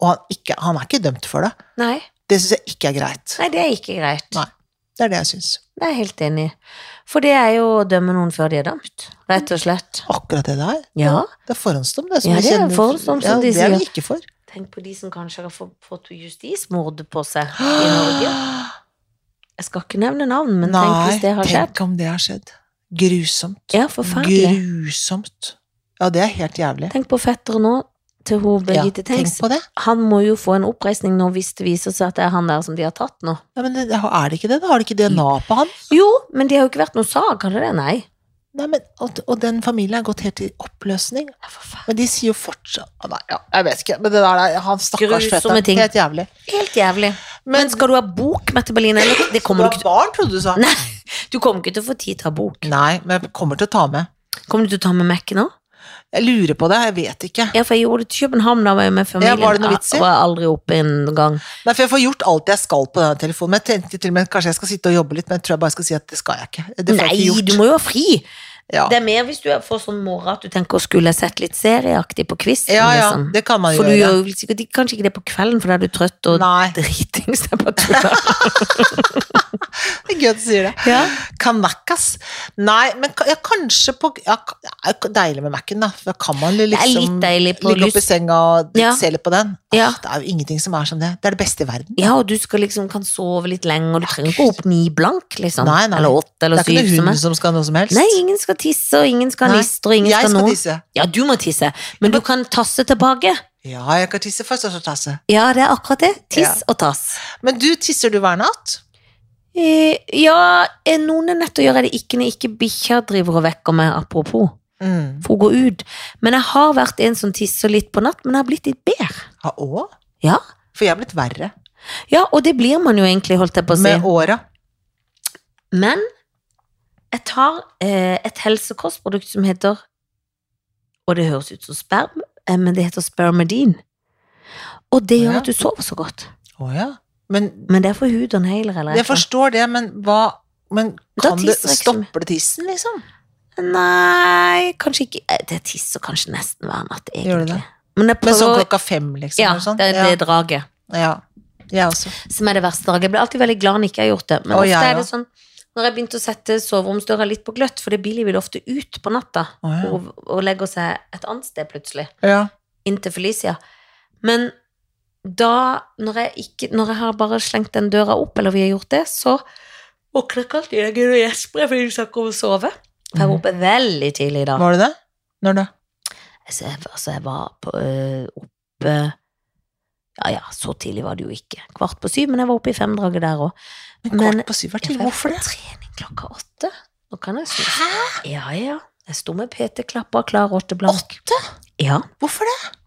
S1: og han, ikke, han er ikke dømt for det.
S2: Nei.
S1: Det syns jeg ikke er greit.
S2: Nei, det er ikke greit.
S1: Nei. Det er det jeg syns.
S2: Det er jeg helt enig i. For det er jo å dømme noen før de er dømt, rett og slett.
S1: Akkurat det der.
S2: Ja.
S1: Det er forhåndsdom, det.
S2: Ja,
S1: vi
S2: det er
S1: kjenner-
S2: forhåndsdom, som
S1: ja,
S2: de
S1: Det er vi
S2: sier.
S1: ikke for.
S2: Tenk på de som kanskje har fått- fått justismord på seg i Norge. Jeg skal ikke nevne navn, men tenk
S1: Nei,
S2: hvis det har skjedd.
S1: tenk om det har skjedd. Grusomt.
S2: Ja, forferdelig.
S1: Grusomt. Ja, det er helt jævlig.
S2: Tenk på fetteren nå, til hun
S1: Ja,
S2: Birgitte
S1: tenk
S2: Tengs.
S1: på det.
S2: Han må jo få en oppreisning nå hvis det viser seg at det er han der som de har tatt nå.
S1: Ja, men det, er det ikke det? Da har de ikke DNA på han.
S2: Jo, men det har jo ikke vært noen sak, har det det? Nei.
S1: Nei, men, og, og den familien har gått helt i oppløsning.
S2: Ja, for faen.
S1: Men de sier jo fortsatt ah, Nei, ja, jeg vet ikke. Men det der er han stakkars
S2: Grusomme
S1: fetteren.
S2: ting.
S1: Helt jævlig.
S2: Helt jævlig. Men skal du ha bok, Mette Berlin? Eller? Det
S1: du
S2: kommer du,
S1: har
S2: ikke,
S1: barn, trodde du sa.
S2: Nei. du kommer ikke til å få tid til å ha bok.
S1: Mm. Nei, men jeg kommer til å ta med.
S2: Kommer du til å ta med Mac nå?
S1: Jeg lurer på det, jeg vet ikke.
S2: Ja, for jeg gjorde det til København da var jeg med familien.
S1: Ja, var det noe vits i?
S2: Jeg var aldri oppe en gang.
S1: Nei, for jeg får gjort alt jeg skal på denne telefonen. Men Jeg tenkte til og med kanskje jeg skal sitte og jobbe litt, men jeg tror jeg bare skal si at det skal jeg ikke. Det får
S2: Nei,
S1: jeg ikke
S2: du
S1: gjort.
S2: må jo ha fri!
S1: Ja.
S2: Det er mer hvis du er- får sånn morgen at du tenker skulle jeg sett litt serieaktig på quiz.
S1: ja, ja,
S2: liksom.
S1: det kan man
S2: For du
S1: gjøre.
S2: gjør jo sikkert ikke- kanskje ikke det på kvelden, for da er du trøtt og
S1: Nei,
S2: dritings. Det er bare tull.
S1: det er gøy at du sier det.
S2: Ja.
S1: Kanakkas. Nei, men ka- ja, kanskje på ja, ka- ja, det er deilig med Mac-en, da. For da kan man jo
S2: Det er litt
S1: liksom
S2: deilig på
S1: ligge oppe i
S2: lyst.
S1: senga og
S2: Ja.
S1: se litt på den. Åh,
S2: Ja.
S1: Det er jo ingenting som er som det. Det er det beste i verden.
S2: Ja, og du skal liksom kan sove litt lenger, og du trenger ikke opp ni blank, liksom.
S1: Nei, nei.
S2: Eller åtte
S1: Det
S2: eller
S1: er ikke
S2: syv.
S1: noe
S2: Som
S1: hund
S2: er.
S1: som skal noe som helst.
S2: Nei, ingen skal tisse, og ingen skal ha
S1: Nei,
S2: lister, og ingen
S1: jeg
S2: skal
S1: skal
S2: noe.
S1: tisse.
S2: Ja, du må tisse, men du kan tasse tilbake.
S1: Ja, jeg kan tisse først, og så tasse.
S2: Ja, det er akkurat det.
S1: Ja.
S2: Tiss og tass.
S1: Men du, tisser du hver natt?
S2: Eh, ja, eh, noen er nødt til å gjøre det ikke når ikke bikkja driver og vekker meg, apropos.
S1: Mm.
S2: For å gå ut. Men jeg har vært en som tisser litt på natt, men jeg har blitt litt bedre.
S1: Ja, å?
S2: Ja.
S1: For jeg er blitt verre
S2: Ja, og det blir man jo egentlig, holdt jeg på å si.
S1: med åra.
S2: Men jeg tar eh, et helsekostprodukt som heter Og det høres ut som sperm, eh, men det heter spermidin. Og det gjør
S1: Ja.
S2: at du sover så godt.
S1: Å ja. Men
S2: Men det er for huden heller, eller?
S1: jeg forstår det, men hva Men
S2: Da
S1: kan det
S2: tisser jeg ikke så mye.
S1: stoppe det tissen, liksom?
S2: Nei, kanskje ikke eh, Det tisser kanskje nesten hver natt, egentlig.
S1: Gjør det det?
S2: Men jeg
S1: Men sånn
S2: prøver
S1: klokka fem, liksom?
S2: Ja,
S1: eller sånn?
S2: det er det draget
S1: ja. ja. Jeg også.
S2: som er det verste draget. Jeg blir alltid veldig glad når jeg ikke har gjort det. Men
S1: Og
S2: ofte
S1: jeg
S2: er det
S1: også.
S2: sånn når jeg begynte å sette soveromsdøra litt på gløtt, for det Billy vil ofte ut på natta
S1: Å, ja.
S2: og, og legger seg et annet sted plutselig.
S1: Ja.
S2: inn til Felicia. Men da, når jeg, ikke, når jeg har bare slengt den døra opp, eller vi har gjort det, så våkner ikke alltid jeg og gjesper fordi vi snakker om å sove. For
S1: Mhm.
S2: jeg var oppe veldig tidlig i dag.
S1: Var det det? Når da?
S2: Altså, jeg, altså, jeg var på, øh, oppe Ja ja, så tidlig var det jo ikke. Kvart på syv, men jeg var oppe i femdraget der òg.
S1: Men
S2: Men-
S1: kort på syv hvert time, hvorfor det?
S2: Trening klokka åtte. Nå kan jeg snu. Ja ja. Jeg sto med PT-klapper klar åtte blank.
S1: Åtte?
S2: Ja.
S1: Hvorfor det?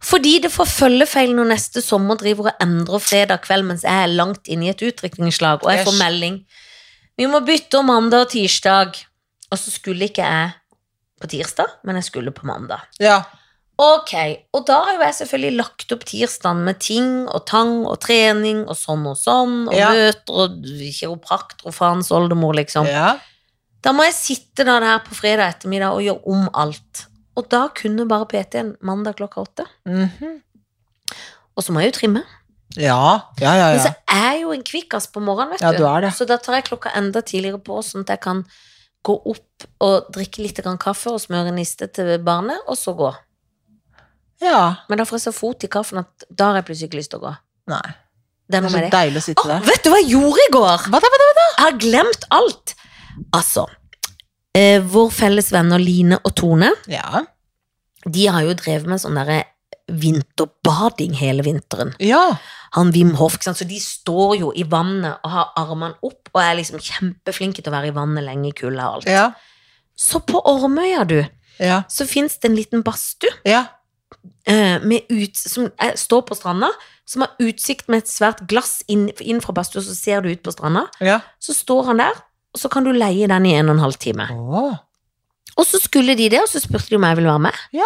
S2: Fordi det får følgefeil når neste sommer driver og endrer fredag kveld mens jeg er langt inne i et utdrikningslag, og jeg får
S1: Æsj.
S2: melding. Vi må bytte om mandag og tirsdag. Og så skulle ikke jeg på tirsdag, men jeg skulle på mandag.
S1: Ja.
S2: Ok, og da har jo jeg selvfølgelig lagt opp tirsdagen med ting og tang og trening og sånn og sånn, og
S1: Ja.
S2: møter og kiropraktor og faens oldemor, liksom.
S1: ja.
S2: Da må jeg sitte da der på fredag ettermiddag og gjøre om alt. Og da kunne bare PT-en mandag klokka åtte.
S1: Mhm.
S2: Og så må jeg jo trimme.
S1: ja. Ja, ja,
S2: Men
S1: ja.
S2: så er jeg jo en kvikkas på morgenen, vet
S1: Ja, du er det.
S2: Så da tar jeg klokka enda tidligere på, sånn at jeg kan gå opp og drikke litt grann kaffe og smøre niste til barnet, og så gå.
S1: Ja.
S2: Men da får jeg så fot i kaffen at da har jeg plutselig ikke lyst til å gå.
S1: Nei.
S2: Det
S1: Det
S2: er
S1: er
S2: noe
S1: så
S2: med det.
S1: deilig å sitte
S2: Åh,
S1: der.
S2: vet du hva jeg gjorde i går?
S1: Hva da, hva da?
S2: Jeg har glemt alt. Altså, eh, vår felles venner Line og Tone,
S1: Ja.
S2: de har jo drevet med sånn derre vinterbading hele vinteren.
S1: Ja.
S2: han Wim Hof, ikke sant? så de står jo i vannet og har armene opp, og er liksom kjempeflinke til å være i vannet lenge i kulda og alt.
S1: Ja.
S2: Så på Ormøya, du,
S1: Ja.
S2: så fins det en liten badstue
S1: Ja.
S2: eh, med ut, som eh, står på stranda, som har utsikt med et svært glass inn, inn fra badstua, så ser du ut på stranda.
S1: ja.
S2: Så står han der, og så kan du leie den i en og en halv time.
S1: Åh.
S2: Og så skulle de det, og så spurte de om jeg ville være med.
S1: Ja.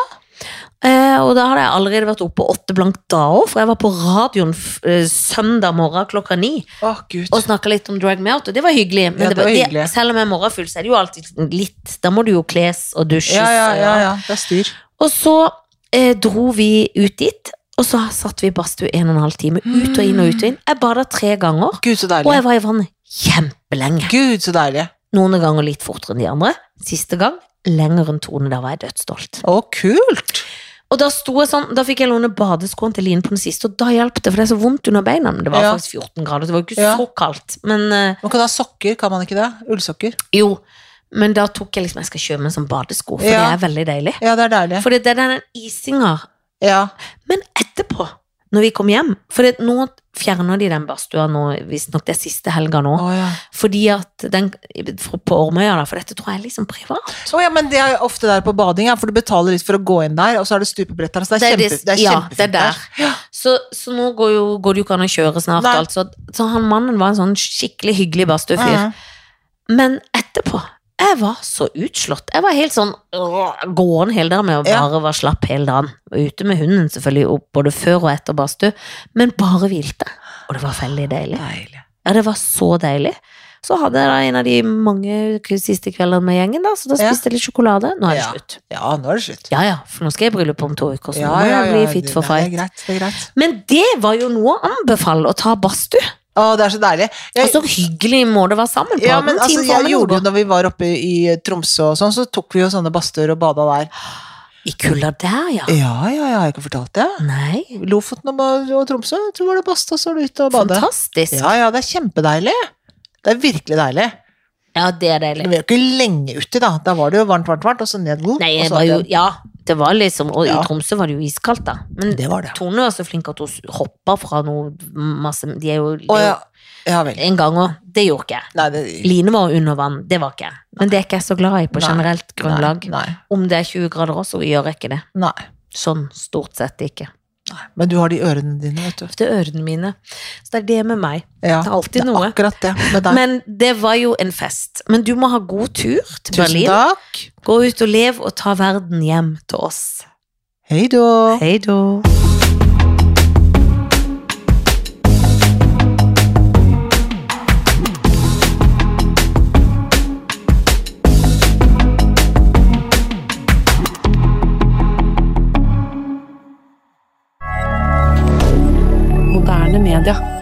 S2: Eh, og da hadde jeg allerede vært oppe åtte blank da òg, for jeg var på radioen f eh, søndag morgen klokka ni.
S1: Å, gud.
S2: og snakka litt om drag me out, og det var hyggelig. Men
S1: Ja,
S2: det
S1: det
S2: var,
S1: var
S2: det,
S1: hyggelig.
S2: selv om jeg er morgenfull, så er det jo alltid litt. Da må du jo kles og dusjes.
S1: Ja, ja,
S2: og-
S1: ja, ja. Det er styr.
S2: Og så eh, dro vi ut dit, og så satt vi i badstue en og en halv time. Ut og inn og ut og inn. Jeg bada tre ganger,
S1: Gud, så
S2: og jeg
S1: deilig.
S2: var i vannet kjempelenge.
S1: Gud, så deilig.
S2: Noen ganger litt fortere enn de andre. Siste gang lenger enn Tone. Da var jeg dødsstolt.
S1: Å, kult!
S2: Og da sto jeg sånn, da fikk jeg låne badeskoene til Line på den siste, og da hjalp det, for det er så vondt under beina. Men det var
S1: Ja.
S2: faktisk 14 grader, så det var jo ikke
S1: Ja.
S2: så kaldt. Men eh,
S1: Man kan ha sokker, kan man ikke det? Ullsokker.
S2: Jo, men da tok jeg liksom Jeg skal kjøpe meg en sånn badesko, for
S1: Ja.
S2: det er veldig deilig.
S1: Ja, det er deilig.
S2: For det er den isinga.
S1: Ja.
S2: Men etterpå, når vi kom hjem For det, nå fjerner de den badstua nå, visstnok det er siste helga nå.
S1: Å, ja.
S2: Fordi at den for, På Ormøya, da, for dette tror jeg er liksom privat.
S1: Å, ja, men det er jo ofte der på bading, ja, for du betaler litt for å gå inn der, og så er det stupebrett der, så det er, kjempe,
S2: Det er det-
S1: det er
S2: ja,
S1: kjempefint
S2: det er der.
S1: Ja.
S2: Så, så nå går, jo, går det jo ikke an å kjøre snart.
S1: Nei.
S2: Altså. Så han mannen var en sånn skikkelig hyggelig badstuefyr.
S1: Mhm.
S2: Men etterpå jeg var så utslått. Jeg var helt sånn øh, gåen hele dagen med å
S1: Ja.
S2: bare være slapp hele dagen. Og ute med hunden selvfølgelig, opp, både før og etter badstue, men bare hvilte. Og det var veldig deilig.
S1: Deilig.
S2: Ja, det var så deilig. Så hadde jeg da en av de mange k- siste kveldene med gjengen, da, så da
S1: Ja.
S2: spiste jeg litt sjokolade. Nå er det
S1: Ja.
S2: slutt.
S1: Ja, nå er det slutt.
S2: Ja ja, for nå skal jeg i bryllup om to uker, så nå
S1: Ja,
S2: må
S1: ja,
S2: jeg
S1: ja,
S2: bli fit for
S1: nei,
S2: fight.
S1: Det er greit, det er greit.
S2: Men det var jo noe å anbefale, å ta badstue.
S1: Å, det er så deilig.
S2: Og
S1: Jeg,
S2: så hyggelig må det være sammen på.
S1: ja,
S2: den
S1: men
S2: timen
S1: altså,
S2: får man
S1: jeg
S2: jo
S1: gjorde
S2: gå.
S1: jo da vi var oppe i Tromsø og sånn, så tok vi jo sånne badstuer og bada der.
S2: I kulda der, ja.
S1: Ja, ja, ja, jeg har ikke fortalt det.
S2: Nei.
S1: Lofoten og, ba- og Tromsø, jeg tror var det badstue, og så var det ute og bade.
S2: Fantastisk.
S1: Ja, ja, det er kjempedeilig. Det er virkelig deilig.
S2: Ja, det er
S1: Men
S2: deilig.
S1: vi var jo ikke lenge uti, da. Da var det jo varmt, varmt, varmt, og så ned god.
S2: Nei,
S1: og
S2: jeg
S1: så
S2: var
S1: opp
S2: jo,
S1: igjen.
S2: ja, det var liksom, og
S1: Ja.
S2: i Tromsø var det jo iskaldt da. Men
S1: Det var det.
S2: Tone var så flink at hun s- hoppa fra noe masse, de er jo, det
S1: Å
S2: er
S1: ja.
S2: jo
S1: Ja vel.
S2: en gang også, det gjorde ikke jeg.
S1: Nei, det
S2: Line var under vann, det var ikke jeg. Men det er ikke jeg så glad i på
S1: Nei.
S2: generelt grunnlag.
S1: Nei.
S2: Om det er 20 grader også, gjør jeg ikke det.
S1: nei, nei.
S2: Sånn stort sett ikke.
S1: Nei. Men du har de ørene dine, vet du.
S2: Det er ørene mine. Så det er det med meg.
S1: Ja,
S2: Det er alltid noe.
S1: akkurat det med deg.
S2: Men det var jo en fest. Men du må ha god tur til
S1: Tusen
S2: Berlin.
S1: takk.
S2: Gå ut og lev og ta verden hjem til oss.
S1: Hei da.
S2: Hei då.
S3: moderne media.